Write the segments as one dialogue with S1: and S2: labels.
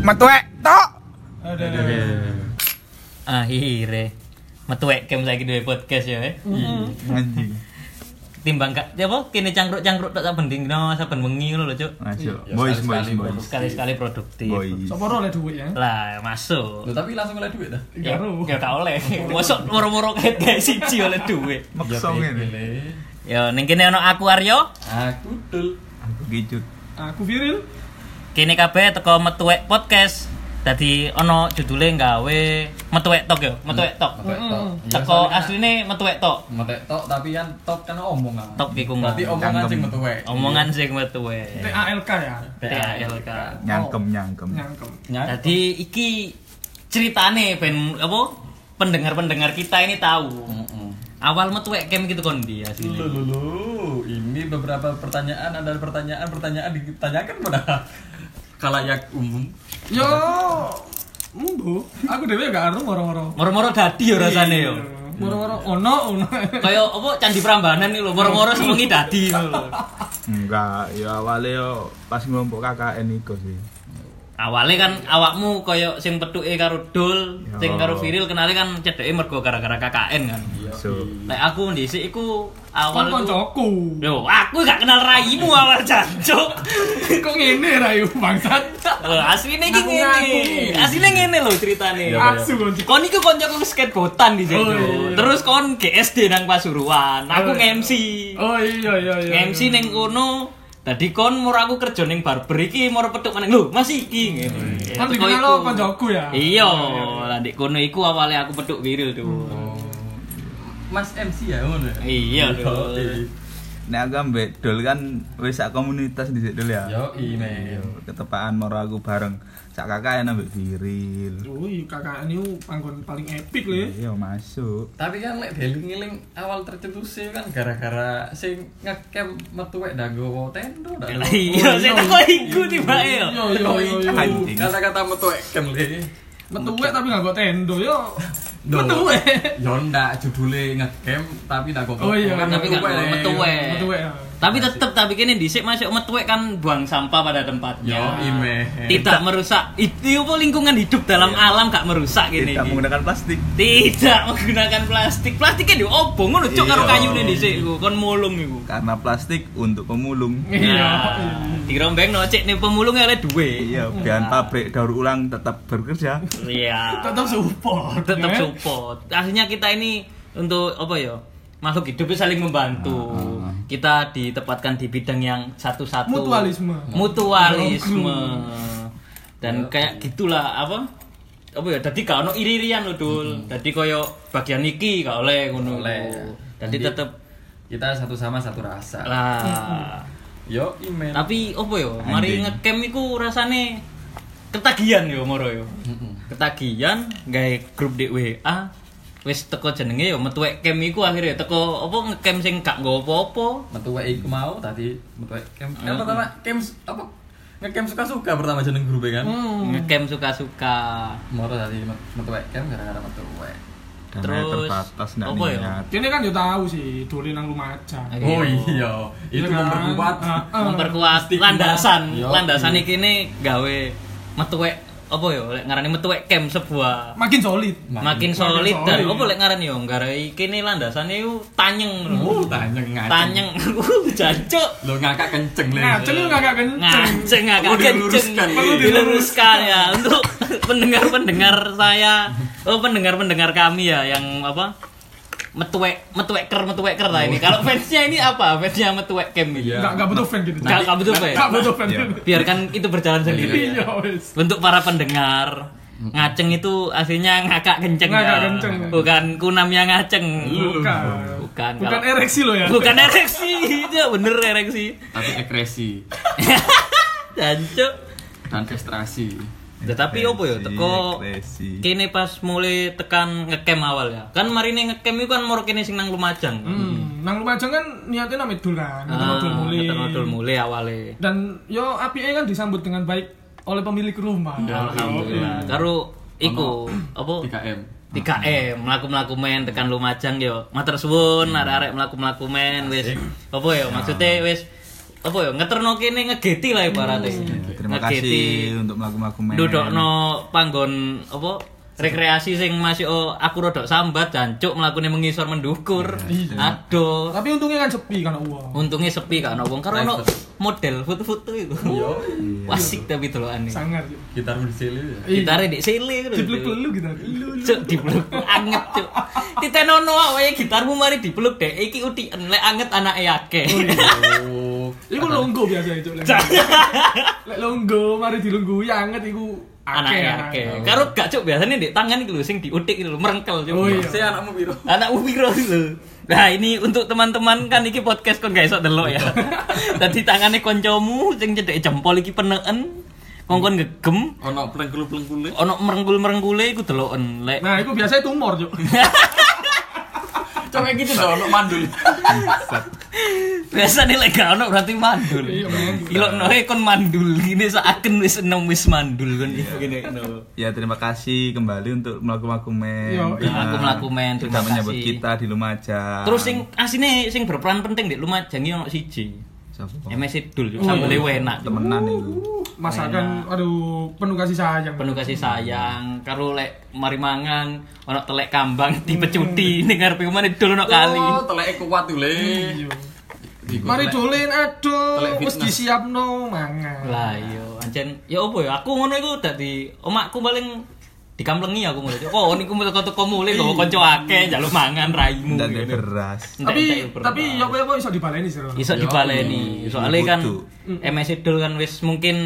S1: metuek tok.
S2: Eh,
S3: Akhirnya metuek kem saiki duwe podcast ya. eh.
S1: Anjing.
S3: Ketimbang kak, ya apa kene cangkruk-cangkruk tak saben dino saben wengi ngono lho, Cuk.
S1: Masuk. Nah, Boys, boys,
S3: Ya,
S1: boys.
S3: Sekali-sekali produktif.
S1: Boys.
S2: Sopo ora oleh duit ya?
S3: Lah, masuk.
S4: Loh, tapi langsung oleh duit dah.
S3: Ya,
S2: Karo.
S3: ya gak oleh. Mosok moro-moro kayak kayak siji oleh duit.
S1: Maksa ngene.
S3: Ya, ning kene ana aku Aryo.
S4: Aku dul.
S1: Aku gicut.
S2: Ah, Aku Viril.
S3: Kene kabeh teko Metuwek Podcast. Dadi ana judule gawe Metuwek Tok ya, Metuwek Tok.
S4: Metek tok. Iya,
S3: Teko
S4: soalnya
S3: asline Metuwek Tok.
S4: kan Metek tok tapi kan tok kan omong kan.
S3: Tok iku ngomong.
S4: Berarti omongan sing metuwe.
S3: Omongan sing Metuwek.
S2: TALK ya.
S3: TALK.
S1: Nyangkem,
S3: Oh.
S1: nyangkem.
S2: Nyangkem.
S4: Nyat.
S3: Jadi iki ceritane ben apa pendengar-pendengar kita ini tahu.
S2: Hmm.
S4: Mm-mm.
S3: Awal metuwek kem gitu kon dia
S4: Lulu,
S3: asline.
S4: lulu. ini beberapa pertanyaan ada pertanyaan pertanyaan ditanyakan pada kalayak umum.
S3: Iya.
S2: Yo. Mbo, aku dhewe gak aru moro-moro.
S3: Moro-moro dadi ya rasane yo.
S2: Moro-moro ono ono.
S3: Kayak apa candi Prambanan iki lho, moro-moro semengi dadi ngono lho.
S1: Enggak, ya awalnya yo pas ngelompok KKN iku sih.
S3: Awale kan awakmu koyo sing petuke karo Dul,
S1: Yo.
S3: sing karo Viril kenale kan cedeke mergo gara-gara KKN kan.
S1: So,
S3: Nek aku ndhisik iku awal
S2: Hmm. Kon
S3: iku-
S2: kancaku.
S3: Yo, aku gak kenal raimu awal jancuk.
S2: Kok ngene rayu bangsat.
S3: Lho, asline iki ngene.
S2: Ngaku-ngaku.
S3: Asline ngene lho ceritane.
S2: Asu kon.
S3: Kon iku koncoku skateboardan di
S2: Iya, Oh,
S3: Jogja.
S2: iya, iya.
S3: Terus kon GSD nang Pasuruan.
S2: Oh,
S3: Aku
S2: iya.
S3: nge-MC.
S2: Oh iya iya iya.
S3: Nge-MC ning kono. Tadi kon mur aku kerja ning barber iki mur petuk meneng. Lho, Mas iki ngene.
S2: Kan
S3: Teko
S2: dikenal
S3: iku.
S2: lo kancaku ya.
S3: Iya, lah di kono iku awale aku petuk viril tuh.
S2: Hmm.
S4: Oh. Mas MC ya ngono. ya?
S3: Iya, Dul.
S4: Yoi.
S1: nek aku ambek Dul kan wis sak komunitas dhisik Dul ya.
S4: Yoi,
S3: iya,
S4: men.
S1: ketepaan moro aku bareng sak kakak enak mbek Viril
S2: Woi, Oh, iya, kakak ini panggon paling epic ya. le.
S1: iya masuk
S4: Tapi kan lek deling-eling awal tercetusnya kan gara-gara sing ngekem metuwek dah gowo tendo dah.
S3: Lah, Iya,
S2: Oh,
S3: saya teko iku ya. tibake
S4: iya,
S3: yo.
S2: Yo yo yo yo.
S1: Anjing.
S4: Kata-kata metuwek kem le.
S2: Metuwek tapi gak kok tendo yo.
S4: Duh.
S2: Metuwek.
S4: Ya ndak judule ngegame tapi ndak kok.
S2: Oh iya,
S4: kan
S3: Tapi gak
S4: metuwek.
S3: mau metuwek.
S2: Metuwek. ya.
S3: Tapi tetep tapi kene dhisik masuk metuwek kan buang sampah pada tempatnya.
S2: Iya,
S4: Yo ime.
S1: Eh,
S3: tidak merusak itu apa lingkungan hidup dalam alam gak merusak gini
S1: tidak menggunakan plastik
S3: tidak menggunakan plastik plastiknya diobong ngono cuk karo
S1: Iya.
S3: kayu ini dhisik iku kon mulung iku
S1: karena plastik untuk pemulung
S2: Iya.
S3: dirombeng no cek nih pemulungnya oleh duwe
S1: iya biar pabrik daur ulang tetap bekerja
S3: iya
S2: Tetap support.
S3: tetap
S2: ya.
S3: support akhirnya kita ini untuk apa ya makhluk hidup saling membantu
S4: Ah.
S3: kita ditempatkan di bidang yang satu-satu
S2: Mutualisme.
S3: mutualisme dan
S4: Iya.
S3: kayak gitulah apa apa ya dadi gak ono iri-irian lho Dul dadi koyo bagian iki gak oleh ngono
S4: Oleh.
S3: dadi
S4: Jadi-
S3: tetep
S4: Kita satu sama satu rasa.
S3: lah
S4: Yo ime.
S3: tapi apa ya mari
S1: Anjing.
S3: ngecamp iku rasane ketagihan yo moro yo
S4: Mm-mm.
S3: ketagihan gawe grup di WA wis teko jenenge yo metuwek camp iku akhirnya teko apa ngecamp sing gak nggo apa-apa
S4: Metuwek iku mau tadi metuwek kem. Kan pertama kem apa ngegame suka-suka pertama jeneng grup e kan.
S3: Hmm. ngecamp suka-suka
S4: Moro tadi met- metuwek kem gara-gara metuwek.
S1: Dananya
S3: Terus,
S1: terbatas ndak
S3: apa ya?
S1: niat
S2: Kini kan yo tahu sih, dolen nang rumah aja.
S3: Iya.
S4: Oh iya,
S2: Iya
S4: itu
S2: kan?
S4: memperkuat.
S2: Heeh.
S3: memperkuat
S4: Stigma.
S3: landasan
S4: Yo.
S3: landasan iki ne gawe metuwek apa yo lek ngarani metuwek camp sebuah
S2: Makin solid.
S3: makin,
S4: Makin
S3: solid
S2: solid.
S3: dan apa lek ngarani yo ngarai kene landasane yo tanyeng
S4: Oh,
S3: lho
S4: tanyeng ngaceng.
S3: tanyeng jancuk
S4: Lo ngakak kenceng le.
S2: Nah, cengil nggak agak
S3: ngaceng
S2: kenceng.
S3: agak
S4: Perlu diluruskan,
S2: iya.
S3: kenceng perlu
S4: Perlu
S3: diluruskan ya untuk pendengar pendengar saya oh pendengar pendengar kami ya yang apa metuwek metuweker metuweker lah
S2: Oh.
S3: ini kalau fansnya ini apa fansnya metuwek camp ini
S4: Iya.
S2: Nggak nggak butuh fan gitu.
S3: Nggak- nggak butuh fan.
S2: Nggak butuh fan. gitu.
S1: Iya.
S3: biarkan itu berjalan sendiri
S2: Iya wes.
S3: untuk para pendengar ngaceng itu aslinya ngakak kenceng
S2: Ngakak
S3: ya.
S2: kenceng. Iya.
S3: bukan kunam yang ngaceng
S2: Bukan.
S3: Bukan,
S2: Bukan
S3: kalau-
S2: ereksi lo ya.
S3: bukan ereksi itu bener ereksi
S4: Tapi ekresi
S3: jancuk
S4: dan frustrasi.
S3: tetapi opo yo teko
S1: Depresi.
S3: kene pas mulai tekan ngecamp awal ya kan marine ngecamp itu kan moro kene sing nang Lumajang kan
S2: Hmm, nang Lumajang kan niatnya namanya dul kan, ketemu
S3: Ah,
S2: dul muli.
S3: ketemu dul mulai awale
S2: Dan yo API kan disambut dengan baik oleh pemilik rumah.
S3: Iya. alhamdulillah karo iku apa
S4: 3M.
S1: Hmm.
S3: 3M mlaku-mlaku men tekan Lumajang yo matur suwun arek-arek mlaku-mlaku men wis apa yo maksudnya wis apa yo ngeterno kene ngegeti lah ibaratnya
S1: Hmm. Ya, terima terima
S3: Ngegeti.
S1: kasih untuk melaku-melaku men.
S3: Dudukno panggon apa rekreasi sing masih oh, aku rodok sambat jancuk melakukan mengisor mendukur aduh
S2: Tapi untungnya kan sepi kan uang.
S3: untungnya sepi gak ono wong karena ono model foto-foto itu wasik tapi delokan iki
S2: Sangar.
S4: gitar bersili ya.
S3: gitare dik sele ngono.
S2: Dipeluk-peluk gitu.
S3: cuk dipeluk anget cuk titenono wae gitarmu mari dipeluk dek iki uti lek anget anake akeh
S4: Oh,
S2: Iku longgo biasa itu. Lek Lek longgo, mari dilunggu Iya, anget iku
S3: anake akeh karo gak cuk biasanya dik tangan iki lho sing diutik iki lho merengkel cuk
S2: Oh iya.
S4: saya anakmu biru.
S3: anak upiro lho Nah ini untuk teman-teman kan iki podcast kon gak iso delok ya. Tadi tangane koncomu sing cedek jempol iki peneken. Kongkon gegem,
S4: Ono plengkul-plengkule.
S3: ono merengkul-merengkule iku deloken. Lek
S2: Nah, iku biasanya tumor, Cuk.
S4: Coba gitu dong, ono mandul.
S3: Biasa nih lek gak ono berarti mandul. Ilok noe kon mandul gini seakan wis enem wis mandul kon iki gini no.
S1: Ya terima kasih kembali untuk melaku-melaku men.
S2: Yo,
S1: Nah,
S3: melaku-melaku men, terima
S1: Sudah menyebut
S3: kasih.
S1: kita di Lumajang.
S3: Terus sing asine sing berperan penting di Lumajang iki ono siji.
S1: Siapa?
S3: MS Dul sambel enak.
S1: temenan itu.
S2: Uh, Masakan aduh penuh kasih sayang.
S3: Iya. Penuh kasih sayang, karo lek mari mangan, ono telek kambang dipecuti ning ngarepe omane Dul ono kali.
S4: Oh, teleke kuat tuh, Le.
S2: Iya.
S4: Iku
S2: Mari
S4: telek-
S2: dolin
S4: Telek
S2: aduh, wis
S4: fitness.
S2: disiapno mangan.
S3: Lah yo ancen ya opo ya aku ngono iku dadi omakku paling dikamplengi aku mulai kok niku teko-teko mulai kok kanca akeh njaluk mangan raimu
S1: Dan
S3: gitu.
S1: beras.
S2: Tapi
S3: Entek-entek
S2: tapi
S3: beras.
S2: ya kowe iso dibaleni sih. Ron.
S3: iso
S4: Ya,
S3: dibaleni soalnya kan
S1: Kudu.
S3: MS Idol kan wis mungkin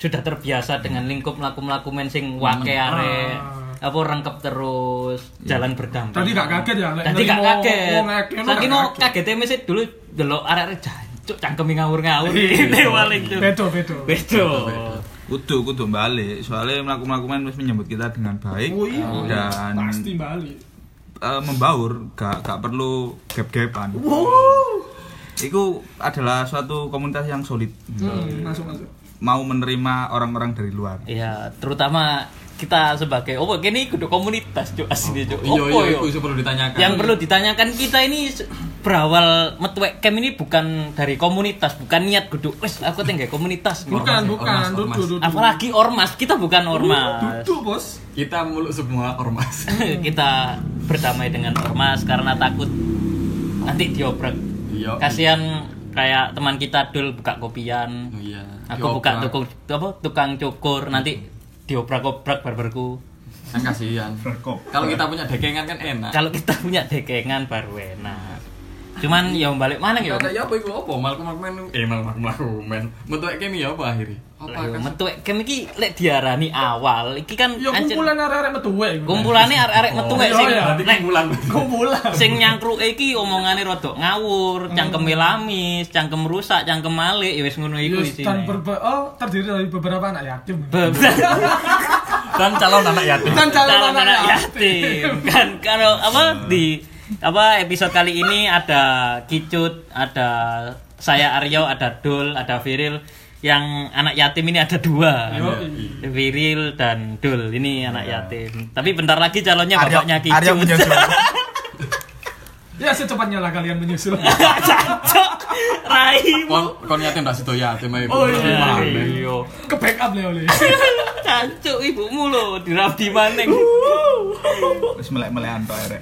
S3: sudah terbiasa dengan lingkup melaku-melaku men sing wake arek apa rengkep terus
S4: Ya.
S3: jalan
S2: Ah.
S3: berdampingan
S2: Tadi gak kaget ya, lek
S3: tadi gak
S2: nerimo
S3: kaget
S2: wong akeh, no
S3: saking
S2: gak
S3: kaget MS dulu delok arek-arek jancuk cangkemi ngawur-ngawur
S4: Iya.
S3: ini paling tuh
S2: Iya. Bedo, bedo.
S3: bedo
S1: Kudu kudu balik soalnya melaku-melaku men wis menyambut kita dengan baik
S2: Oh iya.
S1: dan
S2: Pasti balik.
S1: eh, membaur gak gak perlu gap-gapan.
S3: Oh.
S1: Itu adalah suatu komunitas yang solid.
S2: Hmm, masuk masuk.
S1: Mau menerima orang-orang dari luar.
S3: ya terutama kita sebagai oh kene kudu komunitas cuk asli cuk
S4: Iya,
S3: Opo
S4: iya,
S3: yo?
S4: iku iso perlu ditanyakan.
S3: Yang perlu ditanyakan kita ini se- berawal metuek camp ini bukan dari komunitas, bukan niat guduk. Wes aku tinggal komunitas.
S2: Bukan,
S4: Ormas,
S2: bukan.
S4: ormas,
S2: Duduk,
S4: ormas.
S2: duduk.
S3: Apalagi ormas, kita bukan ormas.
S2: Duduk, Bos.
S4: kita muluk semua ormas.
S3: kita berdamai dengan ormas karena takut nanti diobrek.
S4: Iya.
S3: Kasihan kayak teman kita dul buka kopian.
S4: Oh Iya.
S3: Aku buka tukang apa tukang cukur nanti diobrak-obrak barberku.
S4: Kan kasihan.
S1: Berkop.
S4: Kalau kita punya dekengan kan enak.
S3: Kalau kita punya dekengan baru enak. Cuman ya balik mana ya?
S4: Ya ada ya apa iku apa? Malku malku men. Eh malku malku malku men. Metuke kene ya apa akhirnya? Apa
S3: Ayo,
S4: akan-
S3: metu kem iki lek diarani awal iki kan
S2: Ya
S3: ancen-
S2: kumpulan arek-arek metuwe. iku.
S3: kumpulane arek-arek metu
S2: Oh,
S3: wae
S2: iya,
S3: sing
S2: iya.
S4: Berarti
S3: nek
S4: kumpulan.
S2: Kumpulan.
S3: sing nyangkruke iki omongane rada
S2: Hmm.
S3: ngawur, cangkem lamis, cangkem rusak, cangkem malik ya wis ngono iku
S2: Yus, dan
S3: isine.
S2: berbe- oh terdiri dari beberapa anak yatim.
S3: Be-
S4: Dan calon anak yatim.
S2: Bukan
S3: calon anak yatim. Kan kalau apa di apa episode kali ini ada Kicut, ada saya Aryo, ada Dul, ada Viril. Yang anak yatim ini ada dua. Viril dan Dul ini anak yatim. Tapi bentar lagi calonnya bapaknya Kicut.
S1: Aryo menyusul.
S2: Ya secepatnya lah kalian menyusul.
S3: Cocok. Raimu.
S4: Kon kon yatim dah situ yatim ae.
S2: Oh, iya.
S4: Gimana?
S2: Ke backup le oleh.
S3: Cancuk ibumu lo dirabi maning.
S1: Terus melek-melekan to arek.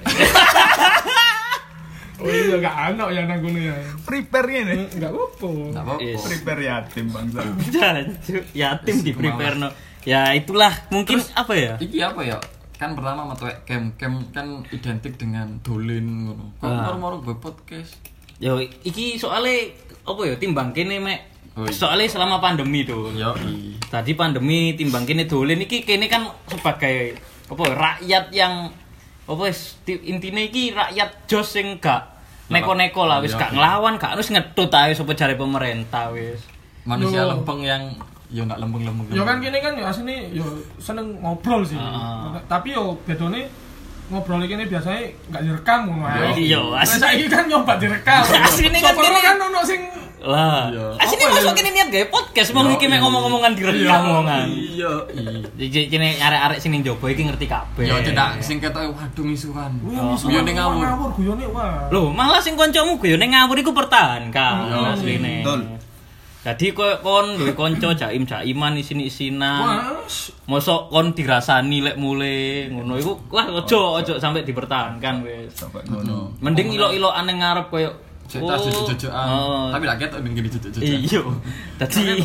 S2: Oh iya gak anak ya nang kono ya.
S1: Prepare ngene.
S3: Hmm,
S2: Enggak apa-apa.
S3: Nah.
S4: Enggak apa-apa.
S1: Prepare yatim bangsa.
S3: Cancuk yatim di prepare no. Ya itulah mungkin apa ya?
S4: Iki apa ya? Kan pertama metuke kem kem kan identik dengan dolin ngono. Kok
S3: Ah.
S4: moro-moro gue podcast.
S3: Yo iki soalnya apa ya timbang kene mek.
S4: Oh, iya.
S3: Soalnya selama pandemi tuh.
S4: Yo i.
S3: Tadi pandemi timbang kene dolen iki kene kan sebagai apa ya, rakyat yang apa wis ti- intine iki rakyat jos sing gak neko-neko lah wis
S4: Iya.
S3: gak nglawan gak harus ngedut ae sapa jare pemerintah wis.
S4: Manusia
S2: Yo.
S4: lempeng yang yo enggak lempeng-lempeng.
S2: Ya kan kini kan ya asli ya seneng ngobrol sih. Nah,
S3: Ah.
S2: Tapi yo bedone ngobrol ini biasanya nggak direkam ngono ae.
S3: Iya, asli.
S2: Saya kan nyoba direkam.
S3: Asline kan
S2: Soalnya
S3: kini-
S2: kan ono sing
S3: Lah,
S4: Iya.
S3: asine
S2: Apa
S3: masuk
S2: ya?
S3: kene niat gawe podcast mau iki mek ngomong-ngomongan direkam omongan.
S4: Iya i.
S3: Jadi ini arek-arek sing ning njaba iki ngerti kabeh.
S4: Yo cedak sing ketok waduh misuhan.
S2: Wih,
S4: Yo ning ngawur.
S2: ngawur guyone wah.
S3: Lho, malah sing kancamu guyone ngawur iku pertahankan
S4: Iya,
S3: asline.
S1: Betul.
S3: Jadi koyo kon duwe kanca jaim jaiman isin isinan. Mosok kon dirasani lek mule ngono iku wah ojo ojo sampai dipertahankan wis.
S4: Sampai ngono.
S3: Mending ilo-ilo aneh ngarep koyo
S4: Cek tas jojojoan.
S3: oh,
S4: Tapi lah ketok ning gini jojojoan.
S3: Iya. Dadi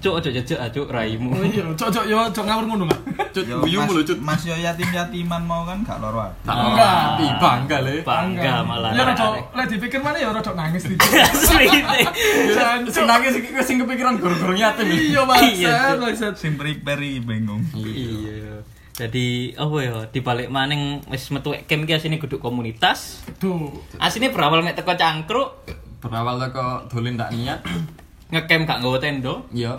S3: cuk ojo jejek ah cuk raimu.
S2: Oh iya, cok cok yo cok ngawur ngono lah.
S4: Cut
S1: Yo,
S4: guyu
S1: mas,
S4: mulu cut.
S1: Mas yo yatim yatiman mau kan gak loro ati.
S4: Tak
S2: Bangga.
S4: ngerti, bangga le.
S3: Bangga malah.
S2: Ya rodok,
S3: arek-arek.
S2: lek dipikir mana ya rodok nangis di.
S3: Asli.
S2: Jan, cok.
S4: Sing nangis iki kowe sing kepikiran gor-gor yatim.
S2: Iya,
S3: Iya,
S2: bangsat,
S3: Cok.
S2: bangsat.
S1: Sing peri-peri bingung.
S3: Iya. Jadi apa ya di balik maning wis metu camp ki asine geduk komunitas.
S2: Duh.
S3: Asine Ah, berawal mek teko cangkruk,
S4: Berawal teko dolen tak niat.
S3: ngecamp gak nggawa tenda.
S4: Yo.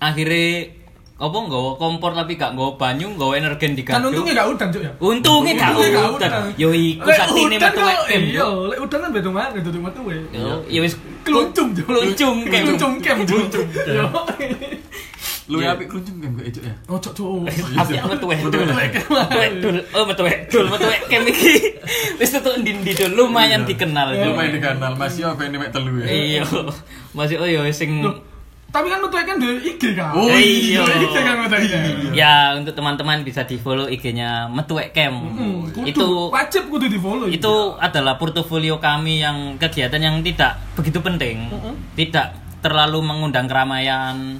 S3: Akhirnya apa nggawa kompor tapi gak nggawa banyu, nggawa energen
S2: Kan
S3: digaduk.
S2: untungnya gak udan cok ya.
S3: Untungnya gak
S2: Untungnya gak
S3: udan.
S2: udan.
S3: Yo iku
S2: Lek
S3: saktine
S2: udan
S3: metu
S2: kok,
S3: camp.
S2: Iya, lek udan kan beda mana duduk metu we.
S3: Yo ya wis
S2: Keluncung, Cok.
S3: Keluncung camp.
S2: Keluncung kem. Keluncung. Yo.
S4: Lu
S1: Iya.
S4: ya apik kluncung kan gue ecuk ya.
S2: Oh cok cok.
S3: Tapi aku metu wedul. Metu wedul. Oh metu wedul, metu camp iki. Wis tutuk ndi-ndi dul, lumayan
S2: Iya.
S3: dikenal. Cok.
S4: Lumayan di kanal Mas yo ben mek telu ya.
S3: Iya. Masih oh yo sing
S2: Loh, tapi kan metu kan di IG kan.
S4: Oh,
S3: iya.
S2: Di IG kan metu kan.
S3: Ya untuk teman-teman bisa di follow IG-nya Metuek Camp.
S2: Hmm, kudu,
S3: Itu
S2: wajib kudu di follow.
S3: itu
S2: Iya.
S3: adalah portofolio kami yang kegiatan yang tidak begitu penting, tidak terlalu mengundang keramaian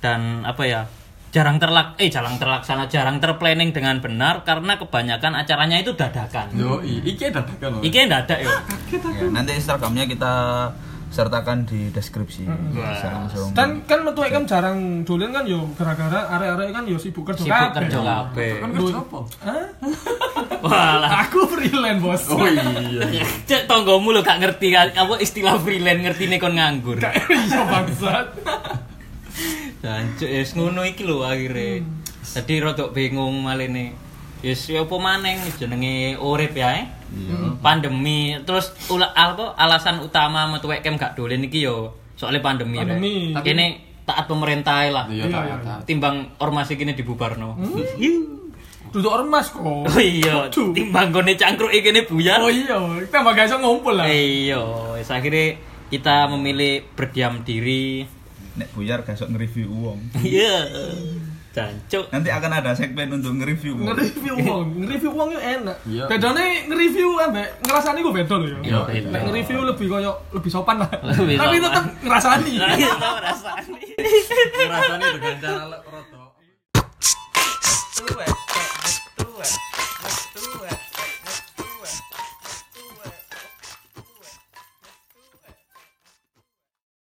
S3: dan apa ya jarang terlak eh jarang terlaksana jarang terplanning dengan benar karena kebanyakan acaranya itu dadakan.
S4: Yo, iki dadakan.
S3: Iki yang dadak yo.
S1: Ya, nanti Instagramnya kita sertakan di deskripsi. Bisa langsung.
S2: Dan kan metu kan jarang dolen kan yo gara-gara arek-arek kan yo sibuk kerja
S3: Sibuk
S2: kabeh.
S3: kerja kabeh.
S4: kan kerja apa?
S2: Hah?
S3: Walah.
S2: Aku freelance, Bos.
S4: Oh iya.
S3: Cek tonggomu lo gak ngerti kan, apa istilah freelance ngerti nih kon nganggur.
S2: Iya bangsat.
S3: Dan cek yes ya ngono iki lho akhire.
S2: Hmm.
S3: Jadi rodok bingung malene. Yes ya apa maneng jenenge urip ya. eh.
S2: Iya.
S3: Pandemi terus ula, apa alasan utama metu kem gak dolen iki yo soalnya pandemi.
S2: Pandemi.
S3: Tapi ini taat pemerintah lah.
S4: Iya, tak tak.
S3: Timbang ormas iki dibubarno.
S2: Hmm. Duduk ormas kok.
S3: Oh iya,
S2: Duh.
S3: timbang gone cangkruk iki ne buyar.
S2: Oh iya, kita bakal iso ngumpul lah.
S3: Iya, wis akhirnya kita memilih berdiam diri.
S1: Nek buyar besok nge-review uang.
S3: Iya. Jancuk.
S1: Nanti akan ada segmen untuk nge-review uang.
S2: Nge-review wong, nge-review wong yo enak.
S4: Iya.
S2: Bedane nge-review ambek ngrasani ku beda lho yo.
S4: Yo.
S2: Nek nge-review lebih koyo lebih sopan lah.
S3: Lebih
S2: Tapi
S3: sopan.
S2: tetep ngrasani.
S3: Tahu rasane.
S4: Rasane dengan cara rotok.
S1: Suwe.